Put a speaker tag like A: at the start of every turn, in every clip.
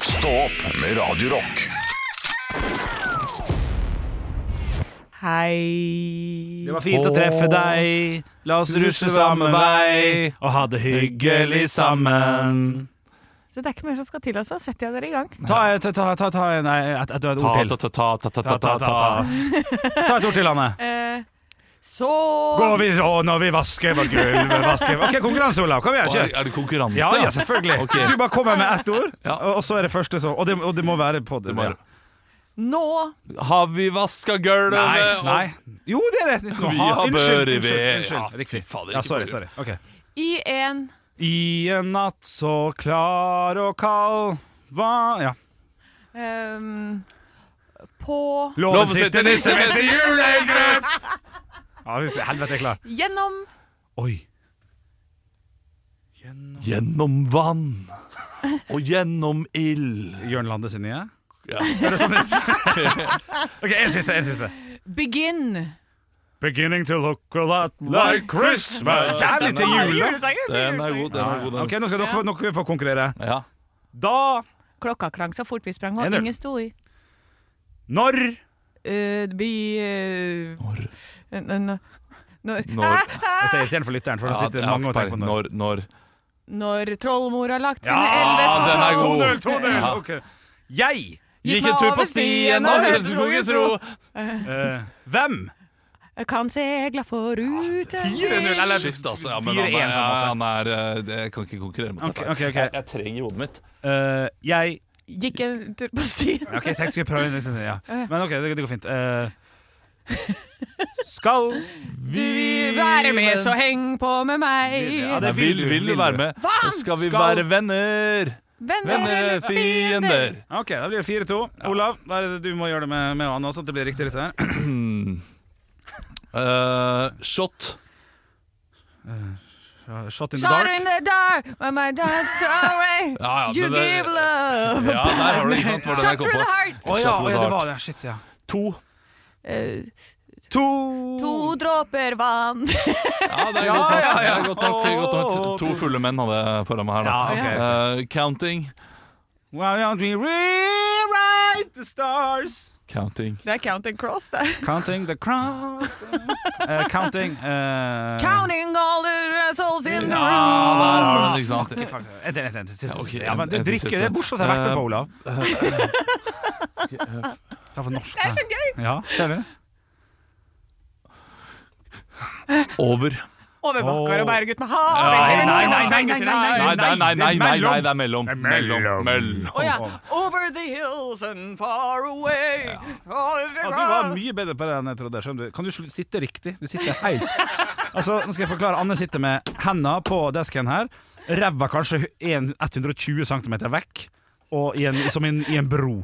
A: Stå opp med Radio Rock.
B: Hei.
C: Det var fint å treffe deg. La oss rusle samme vei og ha det hyggelig sammen.
B: Så det er ikke mer som skal til, altså. Setter jeg dere i gang?
C: Ta, ta, ta, ta, ta Nei, et, et, et ord til. Ta, ta, ta. ta et ord til, Anne.
B: Eh, så
C: Går vi å, når vi vasker på gulvet vasker. OK, konkurranse, Olav. Kom igjen,
D: Og Er,
C: kjør.
D: er det konkurranse?
C: Ja, ja, selvfølgelig.
D: Ok.
C: Du bare kommer med ett ord,
D: Ja.
C: og og så er det første som Og det, og det må være på det.
D: Det må
C: ja.
D: være-
B: Nå
D: Har vi vaska gulvet?
C: Nei, nei. Jo, det er det. Nå,
D: Vi
C: ha-
D: har
C: unnskyld,
D: børi
C: unnskyld,
D: ved-
C: unnskyld.
D: Ja, fy
C: Riktig.
D: fader,
C: Ja,
D: ikke
C: sorry.
D: på
C: sorry. Ok.
B: i en
C: I en natt så klar og kald Hva Ja.
B: ehm, På
C: Loven
D: Loven sitter nisse med sin julegrøt!
C: Ja, hvis helvete er klar.
B: Gjennom
C: Oi.
D: Gjennom vann og gjennom ild.
C: Jørn Lande sin nye?
D: Ja.
C: Høres sånn ut. OK, en siste. en siste
B: Begynn.
C: Beginning to look a lot
D: like Christmas.
C: Jævlig til jul, da.
B: Julesanger,
D: Den er
B: julesanger.
D: god, den er god. Den.
C: OK, nå skal dere få, nå skal vi få konkurrere.
D: Ja.
C: Da,
B: Klokka klang så fort vi sprang, og
C: En øl.
B: ingen sto i.
C: når
B: Eh, vi eh,
D: Når-
B: n- n- Når,
D: Når-
B: Hæ? Hæ?
C: Dette er irriterende for lytteren, for det
D: Ja,
C: sitter
D: ja,
C: mange og tenker på når.
D: når, når.
B: når trollmor har lagt sine elleve
C: Ja,
D: den er
B: små
D: god.
C: 2-0, 2-0.
D: Ja.
C: OK. Jeg.
D: Gikk en tur på stien og hørte skogens ro.
C: eh, hvem?
B: tall Kan segla forut en vind.
C: 4-0, eller
D: Skift, altså. Ja, men
C: 4-1 på
D: han
C: en måte.
D: er, han er eh, det, Jeg kan ikke konkurrere mot
C: Ok,
D: dette.
C: ok, ok.
D: Jeg, jeg trenger hodet mitt.
C: Eh, jeg
B: Gikk en tur på stien.
C: Ok, jeg tenkte jeg skulle prøve en liten- ja. Men ok, det, det går fint Eh, Skal
B: Du vil være med, så heng på med meg.
C: Ja, det
D: Nei, vil, vil du være med?
B: Hva?
D: Skal vi
C: Skal-
D: være venner? Venner eller fiender?
C: Ok, da blir det 4-2 Olav, da er det du må gjøre det med, med han også Sånn at det blir riktig litt her
D: Eh, shot.
C: Shot in the
B: Shot
C: dark
B: in the dark when my dark's away.
D: Ja, ja,
B: You
D: men det-
B: give love.
D: Ja, der har du ikke sant hvor
B: Shot
D: den der kom
B: through the
D: på.
B: heart.
C: Åja,
D: Shot in
C: ja,
D: the
C: det
D: dark.
C: var det Shit, ja
D: To.
B: Eh,
C: To
B: to dråper vann.
D: Ja, det er
C: Ja,
D: godt nok.
C: ja,
D: Det
C: ja.
D: er godt nok. det er godt nok. To
C: Åh.
D: fulle menn hadde jeg foran meg her, da.
C: Ja, ok
D: Eh, counting.
C: Why don't we rewrite the stars
D: Counting.
B: Det er Counting Cross, det.
C: Counting the cross Eh, Counting eh,
B: Counting all the souls in the
D: Ja,
B: room.
D: der har du den, ikke sant.
C: Fuck, Et, et, et, et, siste,
D: Ja, ok,
C: siste. Ja, men
D: en-
C: du
D: en til
C: drikker,
D: siste.
C: det er bortsett jeg har vært med på,
D: Eh,
C: Olav Det er for norsk
B: Det er så gøy.
C: Ja, ser du?
D: Over.
B: Eh, Over bakker og bærer gutt med havet.
D: Nei,
B: Eller
D: nei,
B: noe
D: nei,
C: nei,
B: fanges i
C: nei, nei,
B: nær.
D: Nei, nei, nei, nei, nei, nei,
C: Det
D: det er mellom.
C: Det er mellom.
D: Mellom. mellom.
B: Å ja. Over the hills and far away.
C: Ja, du var mye bedre på det enn jeg trodde. skjønner du Kan du sl- sitte riktig? Du sitter helt Altså, Nå skal jeg forklare. Anne sitter med henda på desken her. Ræva kanskje en- 120 cm vekk. Og i en, som en, i en bro.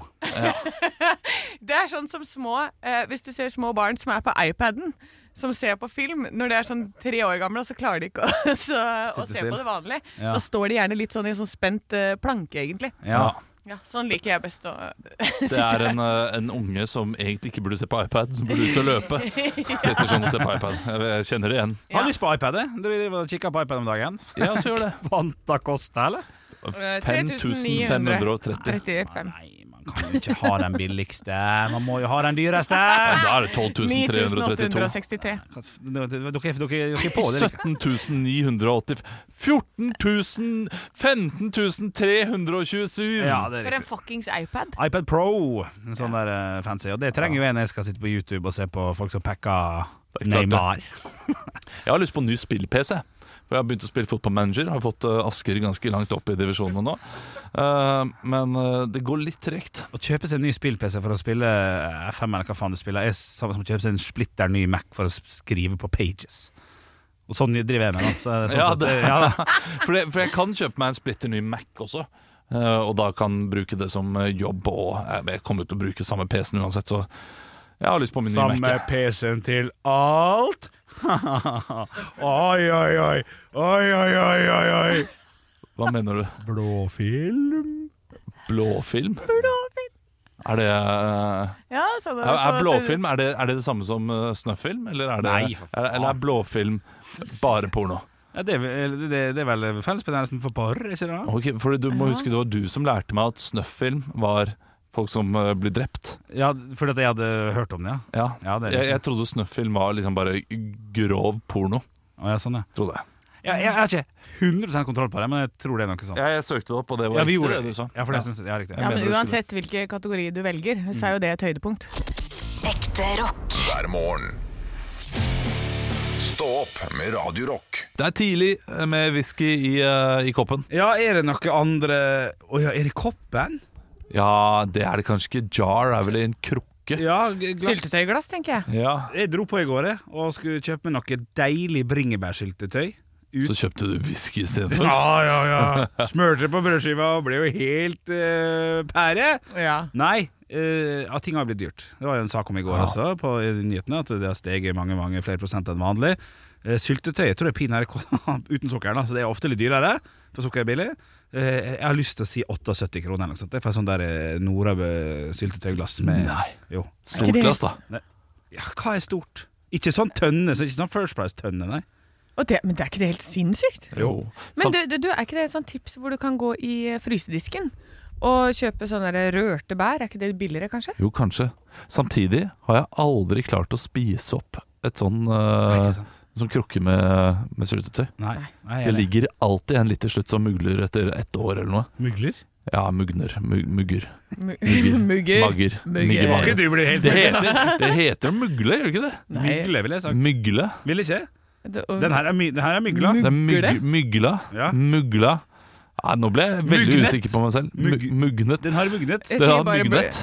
B: Det er sånn som små eh, Hvis du ser små barn som er på iPaden, som ser på film Når de er sånn tre år gamle, så klarer de ikke å, så, å
C: Sitte
B: se
C: still.
B: på det vanlige.
C: Ja.
B: Da står de gjerne litt sånn i en sånn spent eh, planke, egentlig.
C: Ja.
B: Ja, sånn liker jeg best å
D: Det er en, eh, en unge som egentlig ikke burde se på iPad, som burde ut og løpe. Sitter sånn og ser på iPad. Jeg kjenner det igjen.
C: Har du lyst på iPad? eh? Du driver og kikker på iPad om dagen.
D: Ja, så gjør det.
C: Vanta Costa, eller?
B: Eh,
D: 5530.
B: 35.
C: Nei, man kan jo ikke ha den billigste. Man må jo ha den dyreste.
D: Da er det 12332.
B: 9863.
C: Dere dere- dere er på det. er riktig.
D: 17980 14000 15327.
C: Ja, det er
B: For
C: riktig.
B: en fuckings iPad.
C: iPad Pro, en sånn der eh, fancy. Og det trenger jo en jeg skal sitte på YouTube og se på folk som packer
D: Det er klart det.
C: Neymar.
D: Jeg har lyst på en ny spill-PC. For jeg har begynt å spille fotballmanager. Har fått eh, Asker ganske langt opp i divisjonene nå. Eh, men eh, det går litt tregt.
C: Å kjøpe seg en ny spill-PC for å spille FM eller hva faen du spiller, er samme som å kjøpe seg en splitter ny Mac for å s- skrive på Pages. Og sånn driver jeg med, da. Så, sånn
D: Ja,
C: sett,
D: det-
C: ja, da.
D: For, det, for jeg kan kjøpe meg en splitter ny Mac også. eh, og da kan bruke det som eh, jobb. Og eh, jeg kommer til å bruke samme PC-en uansett, så jeg har lyst på min nye Mac.
C: Samme
D: jeg.
C: PC-en til alt. oi, oi, oi. Oi, oi, oi, oi, oi.
D: Hva mener du?
C: Blåfilm?
D: Blåfilm?
B: Blåfilm.
D: Er det eh,
B: Ja, sånn, sånn
D: Er, er
B: at-
D: blåfilm er det, er det det samme som uh, snøfilm? Eller er, det,
C: Nei, for faen.
D: er, eller er blåfilm bare porno?
C: Eh, Ja, det, er vel- det, det er vel fellesbenevnelsen for par, ikke det?
D: Ok, for Du må huske det var du som lærte meg at snøff-film var folk som eh, blir drept.
C: Ja, fordi at jeg hadde hørt om det, ja.
D: Ja,
C: Ja, det er
D: jeg,
C: riktig.
D: jeg trodde snøff-film var liksom bare grov porno.
C: Å, ja, sånn, ja.
D: Trodde jeg.
C: Ja, jeg har ikke 100 kontroll på det, men jeg tror det er noe sånt.
D: jeg søkte det opp, og det
C: Ja, vi
D: riktig,
C: gjorde
D: det
C: det.
D: du sa.
C: Ja, for det synes jeg ja, riktig.
D: Ja.
C: Ja.
B: Ja, men
D: mener du skulle- Mm.
B: Uansett hvilken kategori du velger, så er jo det et høydepunkt.
E: Ekte rock.
A: hver morgen. Stå opp med Radio Rock.
D: Det er tidlig med whisky i, eh, i koppen.
C: er det noe andre Å ja, er det koppen?
D: Ja, det er det kanskje ikke. Jar er vel i en krukke.
C: Ja, g- glass.
B: Syltetøyglass, tenker jeg.
D: Ja.
C: Jeg dro på i går jeg, og skulle kjøpe meg noe deilig bringebærsyltetøy.
D: Så kjøpte du whisky istedenfor.
C: Ja, ja, ja. Smørte det på brødskiva og ble jo helt eh, pære.
B: Ja.
C: Nei, eh, ja, ting har blitt dyrt. Det var jo en sak om i går
D: Ja.
C: også, på i nyhetene, at det har steget mange mange flere prosent enn vanlig. Eh, Syltetøy jeg tror jeg pinadø kom- uten sukker, da, så det er ofte litt dyrere, for sukker er billig. Eh, Jeg har lyst til å si 78 kroner eller noe sånt. Det er for sånn der eh, Norabø syltetøyglass med
D: Nei.
C: Jo.
B: Er ikke
D: Stort
B: det-
D: glass, da.
C: Ja, hva er stort? Ikke sånn tønne, så ikke sånn First Price-tønne, nei.
B: Og det, men det er ikke det helt sinnssykt?
D: Jo.
B: Men du, du, du, er ikke det et sånt tips hvor du kan gå i eh, frysedisken og kjøpe sånne der rørte bær? Er ikke det billigere, kanskje?
D: Jo, kanskje. Samtidig har jeg aldri klart å spise opp et sånn
C: Nei,
D: uh,
C: ikke sant.
D: sånn krukke med, med syltetøy.
C: Nei, nei
D: Det ligger alltid en litt til slutt som mugler etter ett år eller noe.
C: Mugler?
D: Ja, mugner. Mug, mugger.
B: Mugger.
D: Mager.
B: Mugger.
D: Migger, mager.
C: Ikke du blir helt
D: Det heter, det heter mugle, gjør det ikke det?
B: Nei.
C: Mygle, ville jeg sagt.
D: Mygle.
C: Vil ikke?
B: Det- og-
C: Den her er, my den her er mygla.
D: Det er myg,
B: Mugle?
D: mygla.
C: Ja.
D: Mugla. Nei, nå ble jeg veldig
C: Mugnet.
D: usikker på meg selv. Mug,
C: Mugg-
D: mugnet.
C: Den har mugnet.
B: Jeg
D: Det
B: sier
D: har
B: bare
D: mugnet.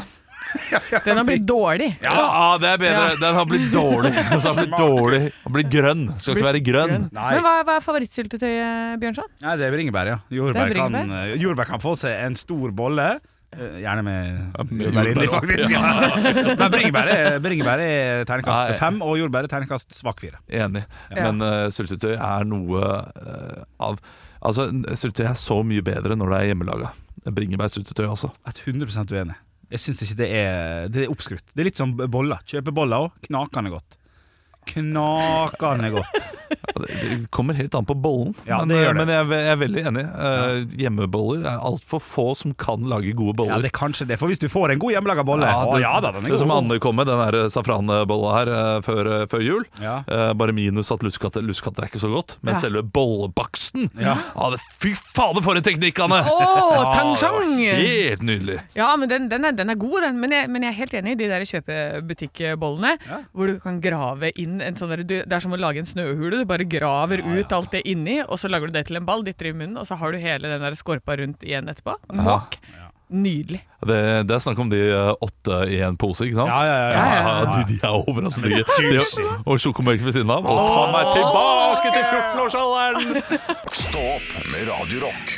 B: Den har blitt dårlig.
D: Ja, det er bedre.
B: Ja.
D: Den har blitt dårlig. Den har blitt dårlig. Den blir grønn. Skal ikke være grønn.
C: Nei.
B: Men hva, hva er favorittsyltetøyet, Bjørnson?
C: Nei, det er bringebær, ja. Jordbær,
B: Det er
C: Kan, eh, jordbær kan få seg en stor bolle. eh, Gjerne med
D: med
C: jordbær inni,
D: jordbær
C: faktisk. Men bringebær er, bringebær er terningkast
D: Nei.
C: fem, og jordbær er terningkast svak fire.
D: Enig.
B: Ja.
D: Men eh, syltetøy er noe eh, av Altså, syltetøy er så mye bedre når det er hjemmelaga. Bringebærsyltetøy, altså.
C: Et 100 uenig. Jeg syns ikke det er Det er oppskrytt. Det er litt som boller. Kjøpe boller òg. Knakende godt. Knakende godt.
D: Ja, Det, det kommer helt an på bollen.
C: Ja,
D: men eh,
C: det gjør det.
D: men jeg, jeg er veldig enig. Eh, hjemmeboller er altfor få som kan lage gode
C: Ja,
D: boller.
C: det er kanskje det. For hvis du får en god hjemmelaga bolle
D: Ja,
C: Å
D: det-
C: ja da, den
D: det
C: er
D: som
C: god.
D: Anne kom med, den der safranbolla her eh, før, før jul.
C: Ja.
D: Eh, bare minus at luskatter luskatter er ikke så godt. Men
B: Ja.
D: selve bollebaksten
C: Ja.
D: Ja, det, Fy fader, for en teknikk, Anne!
B: Å, tang
D: det var
B: tang!
D: helt nydelig.
B: Ja, men den, den, er, den er god, den. Men jeg, men jeg er helt enig i de der kjøpebutikkbollene. Hvor du kan grave inn en sånn der, du, Det er som å lage en snøhule. Du bare graver ut alt det inni, og så lager du det til en ball, dytter det i munnen, og så har du hele den der skorpa rundt igjen etterpå. Måk! Nydelig.
D: Det, det er snakk om de eh, åtte i en pose, ikke sant?
C: Ja, ja, ja, ja.
D: Ja, de, de er overraskende digge. De- Og sjokomelk ved siden av. Og ta meg tilbake til 14-årsalderen!
A: Stå opp med Radio Rock.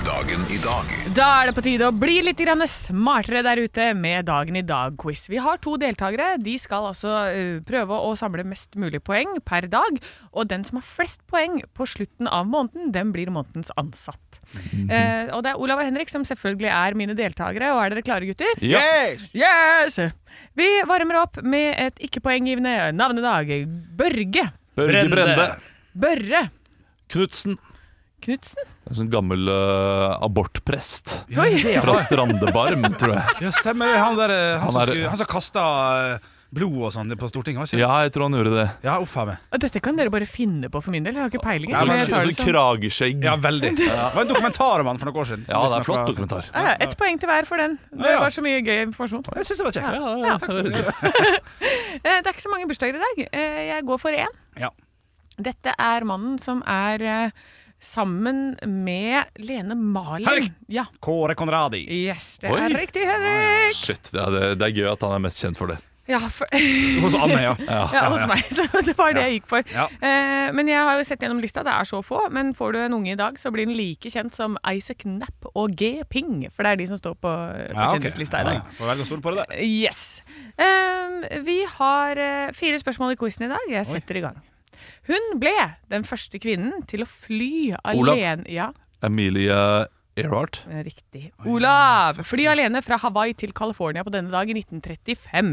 A: Dagen i dag
B: Da er det på tide å bli litt grann smartere der ute med Dagen i dag-quiz. Vi har to deltakere. De skal altså eh, prøve å samle mest mulig poeng per dag. Og den som har flest poeng på slutten av måneden, den blir månedens ansatt. Eh, og det er Olav og Henrik som selvfølgelig er mine deltakere. Og er dere klare, gutter?
D: Ja.
B: Yes! Vi varmer opp med et ikke-poenggivende navnedag. Børge.
D: Børge Brende.
B: Børre
D: Knutsen.
B: Knutsen.
D: En sånn gammel eh, abortprest
C: Ja, det er
D: fra Strandebarm, tror jeg.
C: Ja, stemmer det. Han, der, eh, han,
D: Han
C: som,
D: er-
C: skulle, han som kasta eh, blod og sånn på Stortinget, var ikke det?
D: Ja, jeg tror han gjorde det.
C: Ja, uff a meg.
B: Og dette kan dere bare finne på for min del. Jeg har ikke peiling.
D: Sånn,
B: så jeg tar det
D: sånn
B: som-
D: krageskjegg.
C: Ja,
D: Ja,
C: veldig. Det var en dokumentar om han for noen år siden. som liksom
D: det
C: visste
D: er flott
C: noe-
D: dokumentar.
B: Ja, ja, ett poeng til hver for den. Det
C: Ja, ja.
B: var så mye gøy informasjon.
C: Jeg syns det var kjekt.
D: Ja, ja, ja.
B: Eh, Det er ikke så mange bursdager i dag. Eh, Jeg går for én.
C: Ja.
B: Dette er mannen som er eh, sammen med Lene Malin.
C: Henrik!
B: Ja,
C: Kåre Conradi.
B: yes, det
D: Oi.
B: er riktig, Henrik!
D: Shit, ja, det, det er gøy at han er mest kjent for det.
B: Ja, for,
C: Hos Anne, ja.
B: ja, hos meg. Så det var det jeg gikk for.
C: Ja.
B: Eh, Men jeg har jo sett gjennom lista, det er så få. Men får du en unge i dag, så blir den like kjent som Isaac Knapp og G. Ping. For det er de som står på, på
C: ok.
B: kjendislista i dag.
C: Ja, Får velge å stole på det der.
B: Yes. Ehm, vi har eh, fire spørsmål i quizen i dag. Jeg setter i gang. Hun ble den første kvinnen til å fly
D: Olav.
B: alene ja.
D: Emilie Earhart.
B: Riktig. Olav! Fly alene fra Hawaii til California på denne dag i 1935.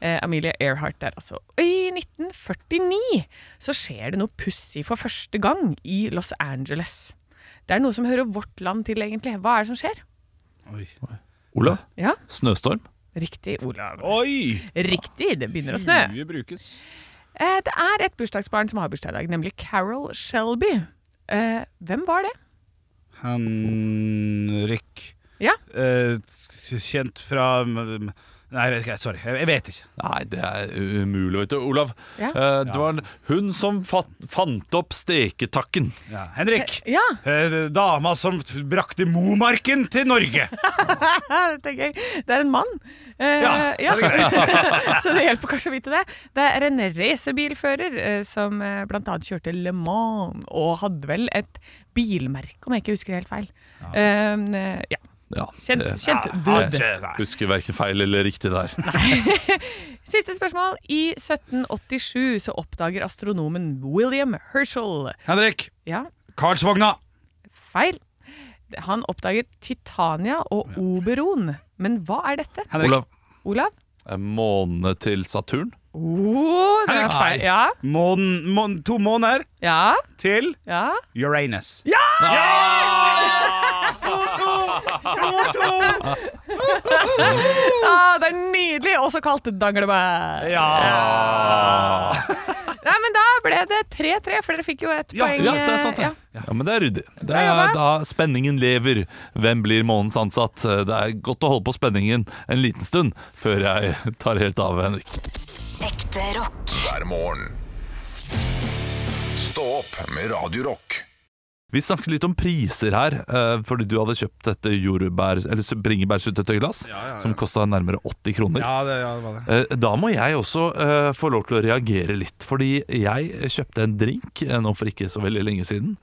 B: Eh, Amelia Earhart der, altså. Og I 1949 så skjer det noe pussig for første gang i Los Angeles. Det er noe som hører vårt land til, egentlig. Hva er det som skjer?
C: Oi.
D: Olav?
B: Ja,
D: Snøstorm?
B: riktig, Olav.
C: Oi!
B: Riktig, det begynner å snø.
C: Mye brukes.
B: Eh, det er et bursdagsbarn som har bursdag i dag, nemlig Carol Shelby. Eh, hvem var det?
C: Henrik
B: Ja,
C: eh, Kjent fra mm, Nei, jeg vet ikke, sorry. Jeg jeg vet ikke.
D: Nei, det er umulig å vite. Olav,
B: Ja.
D: eh, det var hun som fat, fant opp steketakken.
C: Ja. Henrik!
B: ja
C: Eh, dama som t- brakte Momarken til Norge.
B: Ja, det tenker jeg. Det er en mann. Eh,
C: Ja, det er
B: Så det hjelper kanskje å vite det. Det er en racerbilfører eh, som eh, blant annet kjørte Le Mans, og hadde vel et bilmerke, om jeg ikke husker helt feil. Eh, ja.
D: Ja,
B: Kjent,
D: det-
B: kjent
C: Ah,
B: død.
C: ikke- nei.
D: Husker verken feil eller riktig der.
B: Siste spørsmål. I 1787 så oppdager astronomen William Herschel
C: Henrik!
B: Ja,
C: Karlsvogna!
B: feil. Han oppdager Titania og Oberon. Men hva er dette?
C: Henrik.
D: Olav,
B: Olav?
D: en måne til Saturn?
B: Oh, det er feil. Ja,
C: Månen, månen, to måneder
B: ja,
C: til
B: ja.
C: Uranus.
B: Ah, det er nydelig! Også kalt danglebær.
C: Ja!
B: Nei, men da ble det 3-3, for dere fikk jo et
C: Ja,
B: poeng.
D: Ja, det er sant,
B: eh,
D: det. Ja, men det er ryddig. Det
B: jobba.
D: er da spenningen lever. Hvem blir månens ansatt? Det er godt å holde på spenningen en liten stund før jeg tar helt av, Henrik.
E: Ekte rock.
A: hver morgen. Stå opp med Radio Rock.
D: Vi snakket litt om priser her, eh, fordi du hadde kjøpt dette jordbær- eller bringebærsyltetøyglass, som kosta nærmere 80 kroner.
C: Ja, det, ja, det var det.
D: Eh, Da må jeg også eh, få lov til å reagere litt, fordi jeg kjøpte en drink eh, nå for ikke så veldig lenge siden,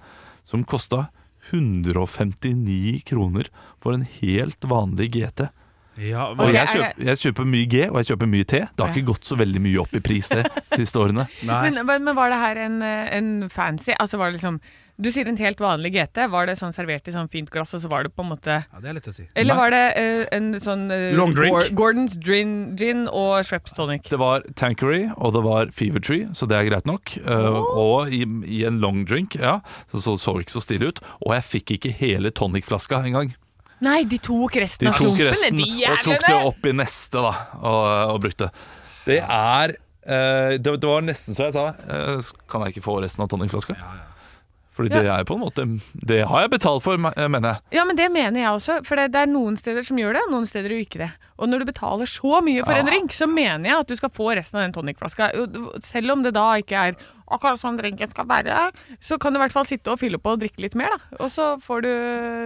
D: som kosta 159 kroner for en helt vanlig GT.
C: Ja,
D: Og
B: Ok,
D: jeg
B: er
D: kjøper, jeg kjøper mye G, og jeg kjøper mye T. Det har ikke gått så veldig mye opp i pris det siste årene.
C: nei.
B: Men, men, men var det her en, eh, en fancy Altså var det liksom Du sier en helt vanlig GT. Var det sånn servert i sånn fint glass, og så var det på en måte
C: Ja, det er litt å si.
B: Eller
D: Nei.
B: var det eh, en sånn eh,
C: Long drink.
B: Gor- Gordons gin, gin og Schweppes tonic?
D: Det var Tankery, og det var Fever Tree, så det er greit nok. Eh, og i, i en long drink, ja, så så, så ikke så stille ut. Og jeg fikk ikke hele tonicflaska engang.
B: Nei, de tok resten
D: De
B: av
D: tok
B: klumpen,
D: resten
B: de
D: og tok det
B: jævlene!
D: opp i neste, da, og, og brukte. Det er eh, det, det var nesten så jeg sa eh, Kan jeg ikke få resten av tonicflaska? Fordi det er på en måte Det har jeg betalt for, me- mener jeg.
B: Ja, men det mener jeg også, for det, det er noen steder som gjør det, og noen steder gjør ikke det. Og når du betaler så mye for
D: Ah.
B: en drink, så mener jeg at du skal få resten av den tonicflaska. Og- Selv om det da ikke er akkurat sånn drinken skal være, så kan du i hvert fall sitte og fylle på og drikke litt mer, da. Og så får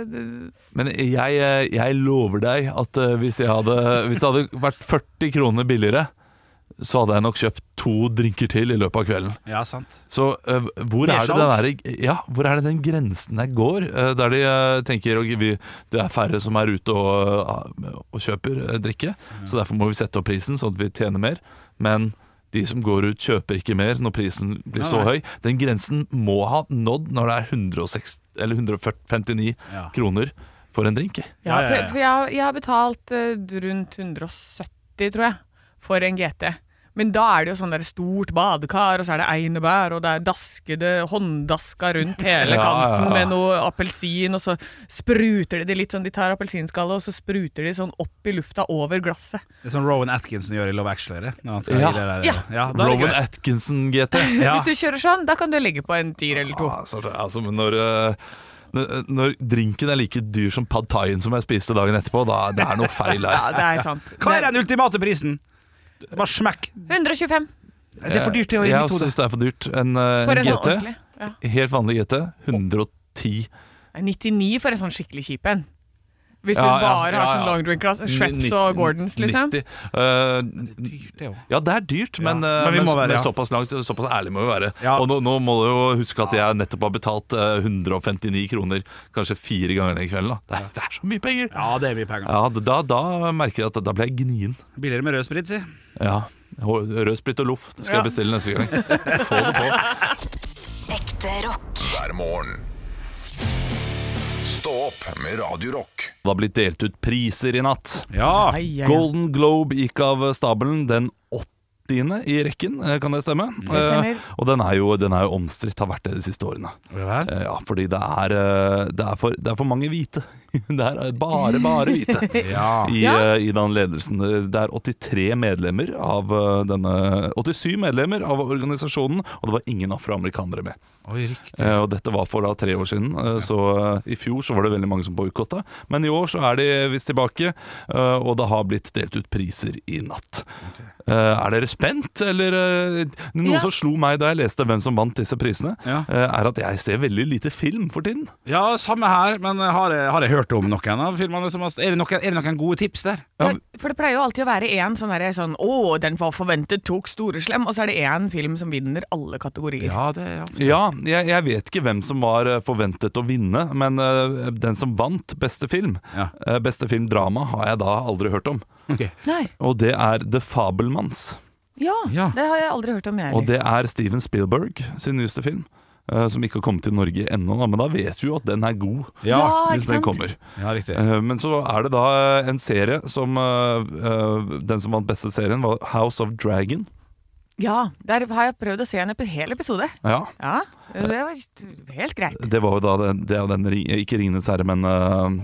B: du
D: Men jeg, eh, jeg lover deg at eh, hvis, jeg hadde, hvis det hadde vært 40 kroner billigere, så hadde jeg nok kjøpt to drinker til i løpet av kvelden.
C: Ja, sant.
D: Så eh, hvor, er det den
C: Nedsalg.
D: der, ja, hvor er det den grensen der går, eh, der de eh, tenker ok, vi, det er færre som er ute og, og kjøper eh, drikke,
C: Mm.
D: så derfor må vi sette opp prisen sånn at vi tjener mer. Men de som går ut, kjøper ikke mer når prisen blir så høy. Den grensen må ha nådd når det er 106, eller 159
C: Ja.
D: kroner for en drink.
B: Ja,
C: Ja, ja, ja.
B: for, for jeg, jeg har betalt eh, rundt 170, tror jeg, for en GT. Men da er det jo sånn der stort badekar, og så er det einebær, og det er daskede hånddaska rundt hele
D: Ja, ja, ja.
B: kanten med noe appelsin, og så spruter de det litt sånn, de tar appelsinskalle, og så spruter de sånn opp i lufta over glasset.
C: Det er sånn Rowan Atkinson gjør i Love Actually. det, Når han skal
D: Ja.
C: gi det der,
B: Ja.
C: da er det
D: Rowan
C: greit.
D: Atkinson GT.
C: Ja.
B: Hvis du kjører sånn, da kan du legge på en tier eller to.
D: Ja, altså, det- altså, men når, eh, når- når drinken er like dyr som pad thaien som jeg spiste dagen etterpå, da det er noe feil
B: Ja,
D: her.
B: det er sant.
C: Hva er den ultimate prisen? Bare smekk.
B: 125
C: Det er for dyrt, det. i
D: Jeg
C: mitt hode.
D: syns det er for dyrt. En, eh,
B: for en sånn
D: GT,
B: ordentlig. Ja.
D: helt vanlig GT, 110.
B: Nei, 99 for en sånn skikkelig kjip en. Hvis
D: Ja,
B: du
D: ja,
B: bare
D: ja,
B: har sånn
D: ja.
B: long drink glass, Schweppes
D: Ni-
B: og Gordons, liksom.
D: 90. Eh,
C: Dyrt, det også.
D: ja, det er dyrt, men,
C: Ja, men vi
D: eh,
C: må være,
D: men
C: ja.
D: såpass langt, såpass ærlig må vi være.
C: Ja.
D: Og nå, nå må du jo huske at jeg nettopp har betalt eh, 159 kroner kanskje fire ganger den kvelden. Da. Det, er, det er så mye penger!
C: Ja, det er mye penger.
D: Ja, da, da merker jeg at da ble jeg gnien.
C: Billigere med rød sprit, si.
D: Ja. Rød sprit og loff. Det skal
B: Ja.
D: jeg bestille neste gang. Få det på.
E: Ekte rock.
A: hver morgen. Stå opp med Radio Rock.
D: Det har blitt delt ut priser i natt.
C: Ja!
B: Ai, ai, ai.
D: Golden Globe gikk av stabelen den 80. i rekken, eh, kan det stemme?
B: stemmer.
D: Eh, og den er jo, den er jo omstridt, har vært det de siste årene.
C: Vel.
D: Eh, Ja, fordi det er, eh, det er, for, det er for mange hvite. Det er eh, bare, bare hvite
C: Ja.
D: i,
B: Ja.
D: eh, i den ledelsen. Det er 83 medlemmer av eh, denne 87 medlemmer av organisasjonen, og det var ingen afroamerikanere med.
C: Oi, riktig.
D: Eh, Og dette var for da tre år siden, eh, så eh, i fjor så var det veldig mange som boikotta. Men i år så er de visst tilbake, eh, og det har blitt delt ut priser i natt. Eh, Er dere spent, eller eh, Noe
B: Ja.
D: som slo meg da jeg leste hvem som vant disse prisene,
C: Ja.
D: eh, er at jeg ser veldig lite film for tiden.
C: Ja, samme her, men har jeg, har jeg hørt om noen av filmene som har er det, noen, er det noen gode tips der?
B: Ja, for det pleier jo alltid å være én sånn derre sånn Å, den var forventet, tok storeslem. Og så er det én film som vinner alle kategorier.
C: Ja, det ja.
D: Ja, jeg, jeg vet ikke hvem som var eh, forventet å vinne, men eh, den som vant beste film,
C: Ja.
D: eh, beste filmdrama, har jeg da aldri hørt om.
C: Ok.
B: Nei.
D: Og det er The Fabelmanns.
B: Ja,
C: Ja.
B: det har jeg aldri hørt om, jeg
D: Og
B: heller.
D: det er Steven Spielberg sin nyeste film, eh, som ikke har kommet til Norge ennå, da, men da vet vi jo at den er god.
C: Ja,
D: hvis den kommer.
C: ja riktig.
D: Eh, Men så er det da eh, en serie som eh, eh, Den som vant beste serien, var House of Dragon.
B: Ja, der har jeg prøvd å se en epi hel episode.
D: Ja,
B: Ja, det var helt greit.
D: Det var jo da den, det er jo den ring- Ikke Ringenes herre, men eh,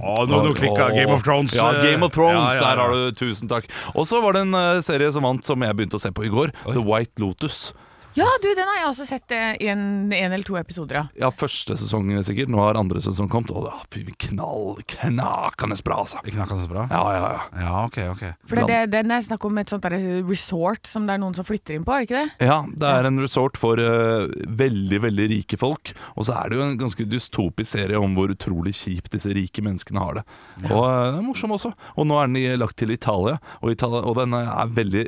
C: Å, nå- nå klikket Game of Thrones,
D: Ja,
C: eh,
D: Game of
C: ja, ja,
D: Thrones,
C: ja.
D: Der har du Tusen takk. Og så var det en eh, serie som vant, som jeg begynte å se på i går. The White Lotus.
B: Ja, du, den har jeg også sett eh, i en, en eller to episoder av.
D: Ja, Første sesong eh, sikkert. Nå har andre sesong kommet. Å, da, fy, knall, knakende bra, altså.
C: Ikke noe så bra?
D: Ja, ja, ja.
C: Ja, ok, ok.
B: For det, det, den er snakk om et sånt der resort som det er noen som flytter inn på, er det ikke det?
D: Ja, det er en resort for eh, veldig, veldig rike folk. Og så er det jo en ganske dystopisk serie om hvor utrolig kjipt disse rike menneskene har det. Og eh, den er morsom også. Og nå er den i- lagt til Italia, og, Italia, og den eh, er veldig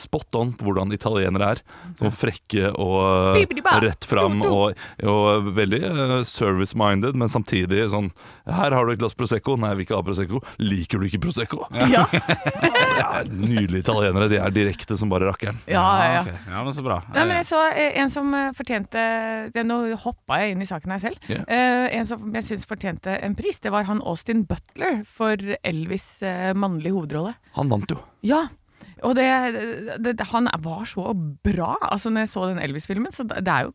D: spot on på hvordan italienere er. Sånn frekke og eh,
B: Bibbidi-ba.
D: rett fram og, og veldig eh, service-minded, men samtidig sånn Her har du et glass Prosecco. Nei, jeg vil ikke ha Prosecco. Liker du ikke Prosecco?
B: Ja,
D: Ja, Nydelige italienere. De er direkte som bare rakkeren.
B: ja, ja. ja.
C: ok. ja men så bra.
B: Nei, men jeg så eh, en som eh, fortjente det, Nå hoppa jeg inn i saken her selv.
D: Ja.
B: Eh, en som jeg syns fortjente en pris, det var han Austin Butler for Elvis' eh, mannlige hovedrolle.
D: Han vant jo.
B: Ja, og det, det, det Han var så bra, altså når jeg så den Elvis-filmen. Så det det er jo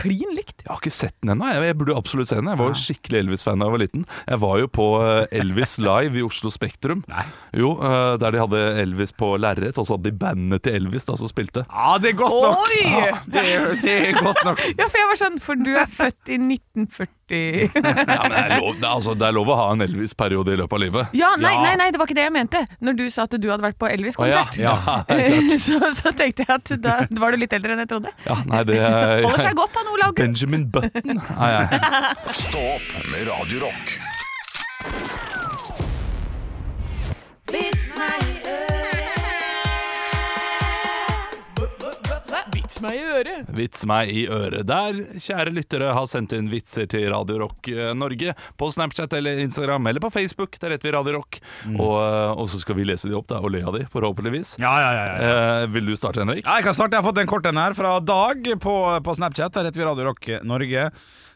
B: klin likt.
D: Jeg har ikke sett den ennå. Jeg jeg burde absolutt se den. Jeg var jo skikkelig Elvis-fan da jeg var liten. Jeg var jo på eh, Elvis Live i Oslo Spektrum.
C: Nei.
D: Jo, eh, Der de hadde Elvis på lerret, og så hadde de bandet til Elvis da som spilte.
C: Ja, det er godt nok!
B: Oi!
C: Ja, det, er, det er godt nok.
B: Ja, for jeg var sånn For du er født i 1940
D: Ja, men det er lov, det er, altså, det er lov å ha en Elvis-periode i løpet av livet.
B: Ja, nei,
C: Ja.
B: nei, nei, det var ikke det jeg mente. Når du sa at du hadde vært på Elvis-konsert,
D: Å, ja.
B: så, så tenkte jeg at da var du litt eldre enn jeg trodde.
D: Ja, nei, det
B: Holder seg godt, han Olav. Gunn.
D: Benjamin Button er jeg.
A: Stå opp med Radio Rock.
B: Vits meg i øret.
D: Vits meg i øret. Der, kjære lyttere, har sendt inn vitser til Radio Rock eh, Norge på Snapchat eller Instagram eller på Facebook. Der heter vi Radio Rock. Og, eh, og så skal vi lese de opp da, og le av de, forhåpentligvis.
C: Mm. Ja, ja, ja. ja.
D: Eh, vil du starte, Henrik?
C: Ja, jeg kan starte. Jeg har fått en kort en her fra Dag på, på Snapchat. Her heter vi Radio Rock Norge.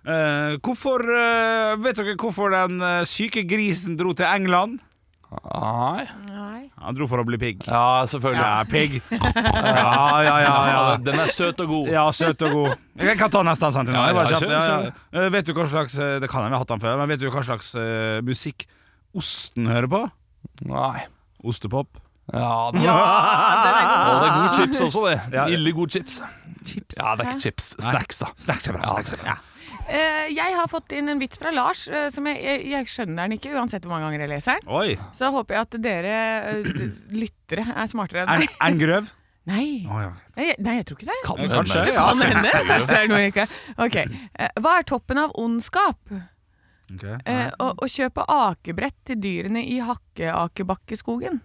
C: Eh, hvorfor eh, Vet dere hvorfor den eh, syke grisen dro til England?
D: Nei.
C: Han dro for å bli pigg.
D: Ja, selvfølgelig.
C: Ja, pigg. Ja, ja, ja. ja.
D: Den er søt og god.
C: Ja, søt og god. Jeg kan ta neste en sentinel.
D: Ja,
C: Det var
D: ja,
C: kjapt.
D: kjør,
C: Ja, ja. Eh, Vet du hva slags eh, Det kan jeg, vi har hatt den før. Men vet du hva slags eh, musikk osten hører på?
D: Nei.
C: Ostepop.
D: Ja, den Og det er god chips også, det.
C: Ja.
D: Ille god chips. Ah. Ja, det er ikke chips. Snacks, da.
C: Snacks er bra. Snacks er bra.
B: Eh, jeg har fått inn en vits fra Lars, eh, som jeg, jeg, jeg skjønner den ikke uansett hvor mange ganger jeg leser den.
C: Oi.
B: Så håper jeg at dere eh, lyttere er smartere enn
C: En,
B: meg.
C: en grøv?
B: Nei.
C: Å, ja.
B: Jeg- nei, jeg tror ikke det.
C: Eh,
D: Kan hende.
C: kanskje, ja.
B: Kan hende. Kanskje det er noe jeg ikke Ok. Eh, Hva er toppen av ondskap?
C: Ok.
B: Eh, å, å kjøpe akebrett til dyrene i hakkeakebakkeskogen.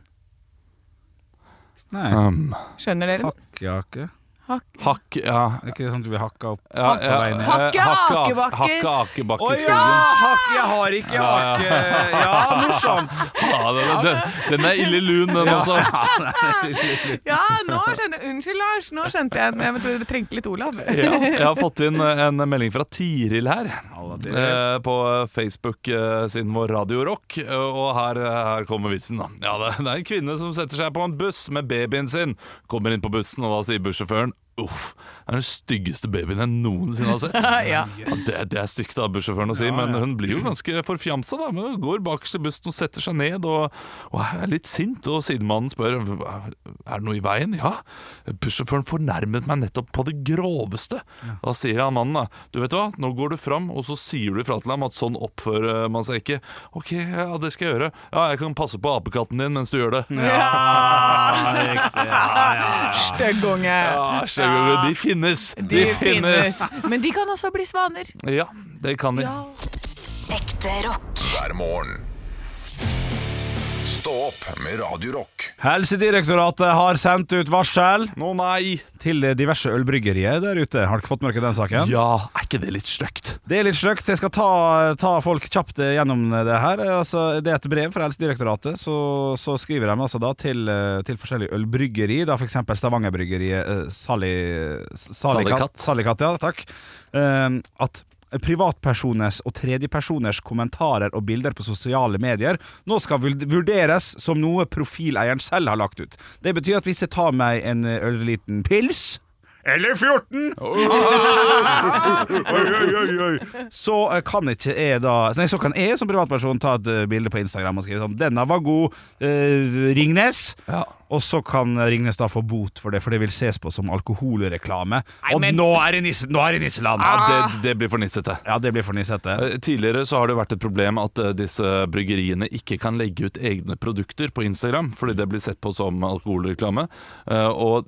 C: Nei.
D: Um,
B: Skjønner dere? den?
C: Hakkejake.
B: Hakk-
D: Hakk, ja.
C: Er ikke det sånn at du blir hakka opp?
D: ja, ja
C: Hakk på veien.
D: eh,
B: Hakke
D: hakk-
B: akebakker.
D: Hakk akebakke
C: Å
D: i
C: ja!
D: skogen.
C: Hakk, jeg har ikke hakke. Ja, morsomt.
D: Ja, den, den, den er ille lun, den også.
B: Ja, nå skjønner Unnskyld, Lars. Nå skjønte jeg den. Jeg vet, du trengte litt Olav.
D: Ja, jeg har fått inn en melding fra Tiril her.
C: Halla, Tiril.
D: eh, På Facebook-siden vår Radio Rock. eh, Og her, her kommer vitsen, da. Ja, det, det er en kvinne som setter seg på en buss med babyen sin. Kommer inn på bussen, og da sier bussjåføren Uff, det er den styggeste babyen jeg noensinne har sett.
B: Ja.
D: Ja, det, det er stygt av bussjåføren å si, men hun blir jo ganske forfjamsa. da men Hun går bakerst i bussen og setter seg ned og, og er litt sint. Og sidemannen spør er det noe i veien. Ja, bussjåføren fornærmet meg nettopp på det groveste. Da sier han mannen da, du vet hva, nå går du fram og så sier du ifra til ham at sånn oppfører man seg ikke. Ok, ja, det skal jeg gjøre. Ja, jeg kan passe på apekatten din mens du gjør det.
C: Ja, riktig. Ja, ja, ja.
B: Stygg unge.
D: Ja, skjønner du, de finnes! De finnes!
B: Men de kan også bli svaner.
D: Ja, det kan de.
E: Ekte rock.
A: hver morgen. Stå opp med Radio Rock.
C: Helsedirektoratet har sendt ut varsel
D: Nå nei!
C: til diverse ølbryggerier der ute. Har dere fått med dere den saken?
D: Ja, er ikke det litt stygt?
C: Det er litt sløkt. Jeg skal ta, ta folk kjapt gjennom det her. Altså, det er et brev fra Helsedirektoratet. Så, så skriver de altså da til, eh, til forskjellige ølbryggeri, da f.eks. Stavanger-bryggeriet eh, Sally, Sallikat,
D: Sallikat.
C: Sallikat, ja, takk. Eh, at privatpersoners og tredjepersoners kommentarer og bilder på sosiale medier nå skal vul- vurderes som noe profileieren selv har lagt ut. Det betyr at hvis jeg tar meg en eh, ørliten pils eller 14! oi, oi, oi, oi. Så eh, kan ikke jeg da Nei, så kan jeg som privatperson ta et eh, bilde på Instagram og skrive sånn 'Denne var god, eh, Ringnes'.
D: Ja.
C: Og så kan Ringnes da få bot for det, for det vil ses på som alkoholreklame.
B: Nei,
C: Og
B: men-
C: nå er det nisse, nå er det nisseland!
D: Ja,
C: Ja,
D: det, det blir for nissete.
C: det, ja, det blir for nissete.
D: Eh, Tidligere så har det vært et problem at eh, disse bryggeriene ikke kan legge ut egne produkter på Instagram, fordi det blir sett på som alkoholreklame. Eh, Og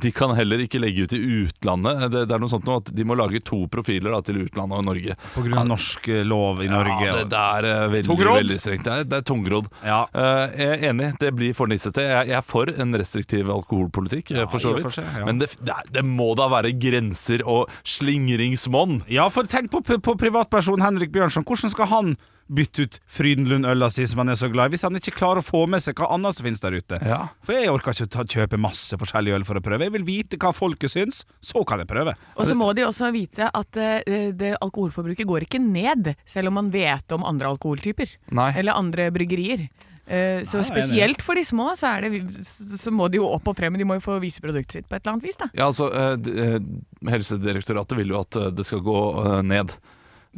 D: de kan heller ikke legge ut i utlandet. Eh, Det, det er noe sånt nå at De må lage to profiler da, til utlandet og Norge.
C: På grunn av norsk eh, lov i Norge.
D: Ja, det,
C: og-
D: det er eh, veldig,
C: Tungrodd?
D: veldig strengt. Det er, det er tungrodd.
C: Ja.
D: Eh, jeg er enig, det blir for nissete. Jeg, jeg er for en restriktiv alkoholpolitikk, eh, for så
C: i og
D: vidt.
C: for seg, ja.
D: Men det, det, er- det må da være grenser og slingringsmonn.
C: Ja, for tenk på, på privatpersonen Henrik Bjørnson. Hvordan skal han bytte ut Frydenlund-øla si, som han er så glad i, hvis han ikke klarer å få med seg hva annet som finnes der ute?
D: Ja.
C: For jeg orker ikke å ta, kjøpe masse forskjellig øl for å prøve. Jeg vil vite hva folket syns, så kan jeg prøve.
B: Og så må de også vite at eh, det alkoholforbruket går ikke ned, selv om man vet om andre alkoholtyper.
D: Nei.
B: Eller andre bryggerier. Eh, så
C: Nei, jeg er
B: spesielt for de små, så, er det, så må de jo opp og frem. De må jo få vise produktet sitt på et eller annet vis, da.
D: Ja, altså, eh, d- eh, Helsedirektoratet vil jo at eh, det skal gå eh, ned.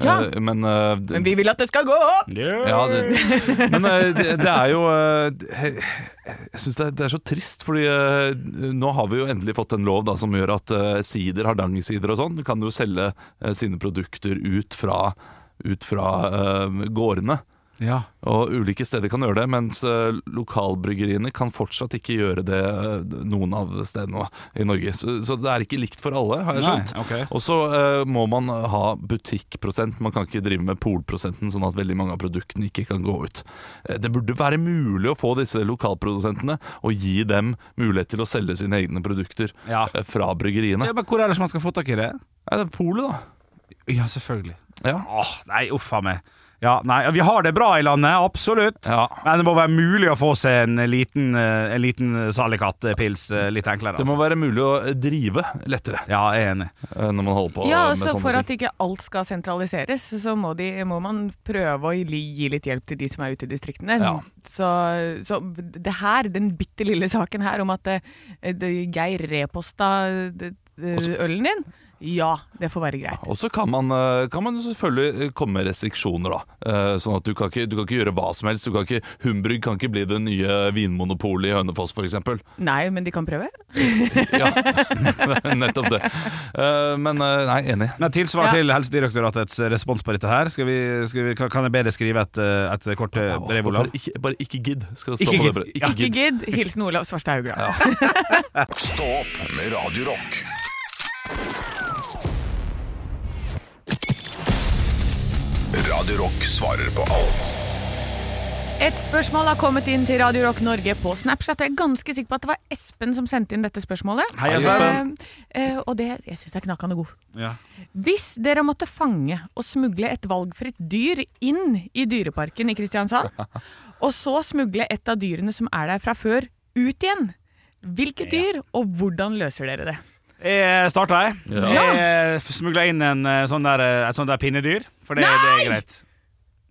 B: Ja.
D: Eh, Men, eh, d-
B: Men vi vil at det skal gå opp!
D: ja, det, men eh, det, det er jo eh, Jeg syns det, er- det er så trist, fordi eh, nå har vi jo endelig fått en lov da, som gjør at eh, sider, hardangersider og sånn, kan jo selge eh, sine produkter ut fra, ut fra eh, gårdene.
C: Ja.
D: Og ulike steder kan gjøre det, mens eh, lokalbryggeriene kan fortsatt ikke gjøre det eh, noen av stedene i Norge. Så, så det er ikke likt for alle, har jeg
C: Nei,
D: skjønt.
C: ok.
D: Og så eh, må man ha butikkprosent, man kan ikke drive med polprosenten sånn at veldig mange av produktene ikke kan gå ut. Eh, Det burde være mulig å få disse lokalprodusentene og gi dem mulighet til å selge sine egne produkter
C: Ja.
D: eh, fra bryggeriene.
C: Ja, men hvor ellers man skal få tak i det?
D: Ja, det er polet, da.
C: Ja, selvfølgelig.
D: Ja.
C: Åh, nei, uffa meg. Ja, nei, vi har det bra i landet, absolutt.
D: Ja.
C: Men det må være mulig å få seg en liten, eh, en liten Sallikat-pils eh, litt enklere.
D: Det må
C: Altså.
D: være mulig å drive lettere
C: Ja, jeg er enig.
D: eh, når man holder på
B: Ja, og
D: med
B: så
D: sånne
B: for
D: ting.
B: at ikke alt skal sentraliseres, så må, de, må man prøve å gi, gi litt hjelp til de som er ute i distriktene.
D: Ja.
B: Så, så det her, den bitte lille saken her om at eh, det- Geir reposta eh, ølen din, ja, det får være greit.
D: Og så kan man, eh, kan man jo selvfølgelig eh, komme med restriksjoner, da. Eh, Sånn at du kan ikke, du kan ikke gjøre hva som helst. Du kan ikke, Humbrygg kan ikke bli det nye vinmonopolet i Hønefoss, f.eks.
B: Nei, men de kan prøve.
D: Ja, nettopp det. Eh, Men eh, nei, enig.
C: Men tilsvar
B: Ja.
C: til Helsedirektoratets eh, respons på dette her. Skal vi, skal vi, kan jeg be deg skrive et, eh, et kort eh, brev,
D: Bare
C: Olav?
D: ikke, bare ikke gidd. Skal det
C: Ikke
D: stå på det
C: gidd.
D: brevet.
C: Ja.
D: Ikke
B: Ikke
D: gidd.
B: gidd. Hilsen Olav Svarstad Haugland.
A: Stå opp med Radio Rock. Radio Rock svarer på alt.
B: Et spørsmål har kommet inn til Radio Rock Norge på Snapchat. Jeg er ganske sikker på at det var Espen som sendte inn dette spørsmålet.
C: Hei, Espen.
B: Eh, eh, og det jeg syns er knakende god.
C: Ja.
B: Hvis dere måtte fange og smugle et valgfritt dyr inn i dyreparken i Kristiansand, og så smugle et av dyrene som er der fra før, ut igjen, hvilket dyr, og hvordan løser dere det?
C: Jeg starta, jeg.
B: Ja.
C: Jeg smugla inn en, eh, sånn der, eh, et sånt der pinnedyr. For det, det er greit.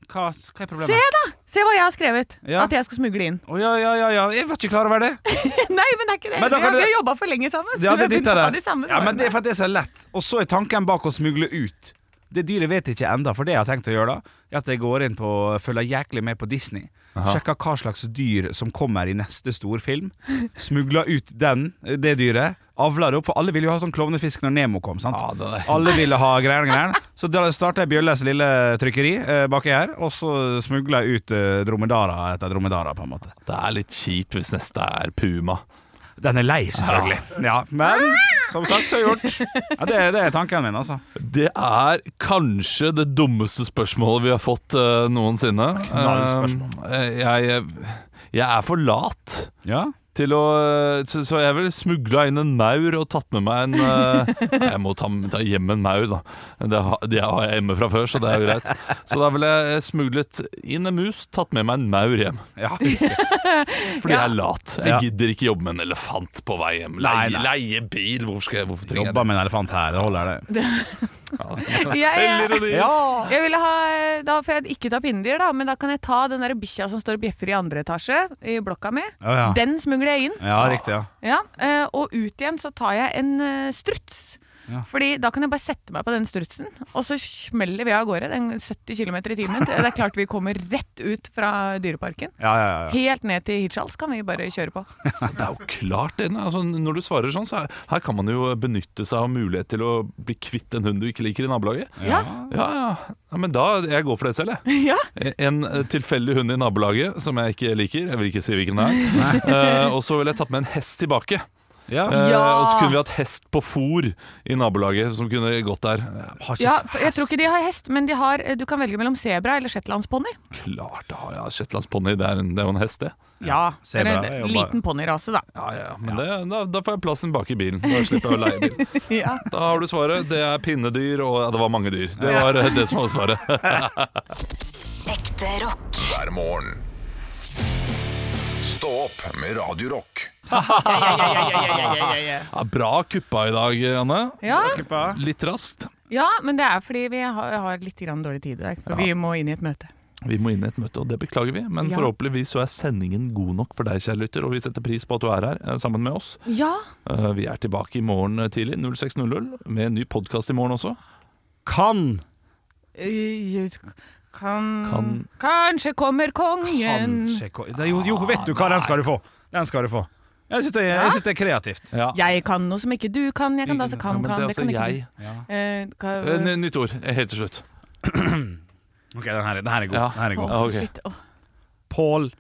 C: Hva, hva er
B: Se
C: problemet?
B: da! Se hva jeg har skrevet
C: Ja.
B: at jeg skal smugle inn.
C: Å ja, ja, ja, ja. Jeg var ikke klar over det.
B: Nei, men det er ikke det.
C: Men da
B: Vi
C: kan
B: har, vi har
C: du-
B: jobba for lenge sammen.
C: Ja, det er
B: Vi har
C: ditt
B: begynt å ha
C: av
B: de
C: det.
B: samme
C: Ja, men det er
B: svarene.
C: for at det er så lett. Og så er tanken bak å smugle ut. Det dyret vet jeg ikke enda, for det jeg har tenkt å gjøre da, er at jeg går inn på følger jæklig med på Disney. Sjekker hva slags dyr som kommer i neste storfilm. Smugler ut den, det dyret. Avler det opp, for alle ville jo ha sånn klovnefisk når Nemo kom. sant?
D: Ja, det er-
C: Alle ville ha greiene greiene. Så da starta jeg Bjølles lille trykkeri eh, baki her, og så smugla jeg ut eh, dromedara etter dromedara, på en måte.
D: Det er litt kjipt hvis neste er puma.
C: Den er lei, selvfølgelig. Ja, Men som sagt, så gjort. Ja, det, det er tanken min, altså.
D: Det er kanskje det dummeste spørsmålet vi har fått eh, noensinne.
C: Knallspørsmål.
D: Eh, jeg, jeg er for lat
C: Ja.
D: til å Så, så jeg ville smugla inn en maur og tatt med meg en eh, Jeg må ta, ta hjem en maur, da. Det har, det har jeg hjemme fra før, så det er jo greit. Så da ville jeg smuglet inn en mus, tatt med meg en maur hjem.
C: ja.
D: Fordi jeg er lat. Jeg
C: Ja.
D: gidder ikke jobbe med en elefant på vei hjem.
C: Nei,
D: Leie,
C: nei.
D: leie bil, hvorfor, skal jeg, hvorfor trenger jeg
C: Jobba med en elefant her, det holder, det.
B: Jeg, eh,
D: Selvironi.
B: jeg ville ha, eh, da får jeg ikke ta pinnedyr, da, men da kan jeg ta den der bikkja som står og bjeffer i andre etasje i blokka mi.
C: Å, ja.
B: Den smugler jeg inn.
C: Ja, riktig, ja.
B: Ja, eh, og ut igjen så tar jeg en eh, struts.
C: Ja.
B: Fordi da kan jeg bare sette meg på den strutsen, og så smeller vi av gårde. Den 70 km i timen. Det er klart vi kommer rett ut fra Dyreparken.
C: Ja, ja, ja, ja.
B: Helt ned til Hirtshals kan vi bare kjøre på.
D: Det er jo klart det. Nei, Altså, når du svarer sånn, så er, her kan man jo benytte seg av mulighet til å bli kvitt en hund du ikke liker i nabolaget.
B: Ja,
D: Ja, ja. ja men da Jeg går for det selv, jeg.
B: ja.
D: En eh, tilfeldig hund i nabolaget som jeg ikke liker. Jeg vil ikke si hvilken det er. Eh, og så ville jeg tatt med en hest tilbake.
C: ja.
D: Eh,
B: Ja.
D: Og så kunne vi hatt hest på fôr i nabolaget som kunne gått der. Eh,
C: Har ikke
B: ja for jeg tror ikke de har hest, men de har, eh, du kan velge mellom sebra eller shetlandsponni.
D: Klart det har jeg. Shetlandsponni, det, er en- det er jo en hest, det.
B: Ja, det er
C: sebra er jo
B: en
C: bare-
B: liten ponnirase, da.
D: Ja, ja, men Det, da, da får jeg plassen bak i bilen. Da slipper jeg å leie bil.
B: Ja.
D: Da har du svaret. Det er pinnedyr, og ja, det var mange dyr. Det var eh, det som var svaret.
E: Ekte rock.
A: hver morgen. Stå opp med Radio Rock.
D: Ja, bra kuppa i dag, Anne.
B: Ja,
C: Klippa.
D: Litt raskt.
B: ja, men det er fordi vi har, har litt grann dårlig tid i dag. For vi må inn i et møte.
D: Vi må inn i et møte, og det beklager vi. Men
B: Ja.
D: forhåpentligvis så er sendingen god nok for deg, kjære lytter, og vi setter pris på at du er her eh, sammen med oss.
B: Ja,
D: Eh, Vi er tilbake i morgen eh, tidlig, 06.00, med en ny podkast i morgen også.
C: Kan
B: Eh, Kan,
D: Kan-
B: Kanskje kommer kongen.
C: Kanskje ko- Det er jo, jo, vet du hva, den skal du få. Den skal du få. Jeg syns det, jeg synes det er kreativt.
D: Ja.
B: Jeg kan noe som ikke du kan. Jeg kan da så
D: Ja,
B: kan,
D: men
B: kan.
D: det er
B: Det kan
D: altså
B: ikke
D: jeg.
B: du. Eh, ka-
D: Eh, n- Nytt ord, eh, helt til slutt.
C: Ok, den her, er- den her er god.
D: Ja.
C: Den her er god.
D: Ja, Ah, ok.
B: Shit, åh.
C: Pål.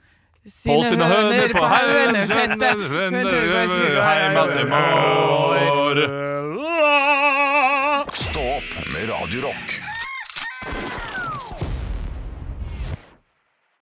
D: Hold sine høner på haugen
B: høner, sjette.
D: Heima til mor.
C: Eh,
A: Stå opp med Radio Rock.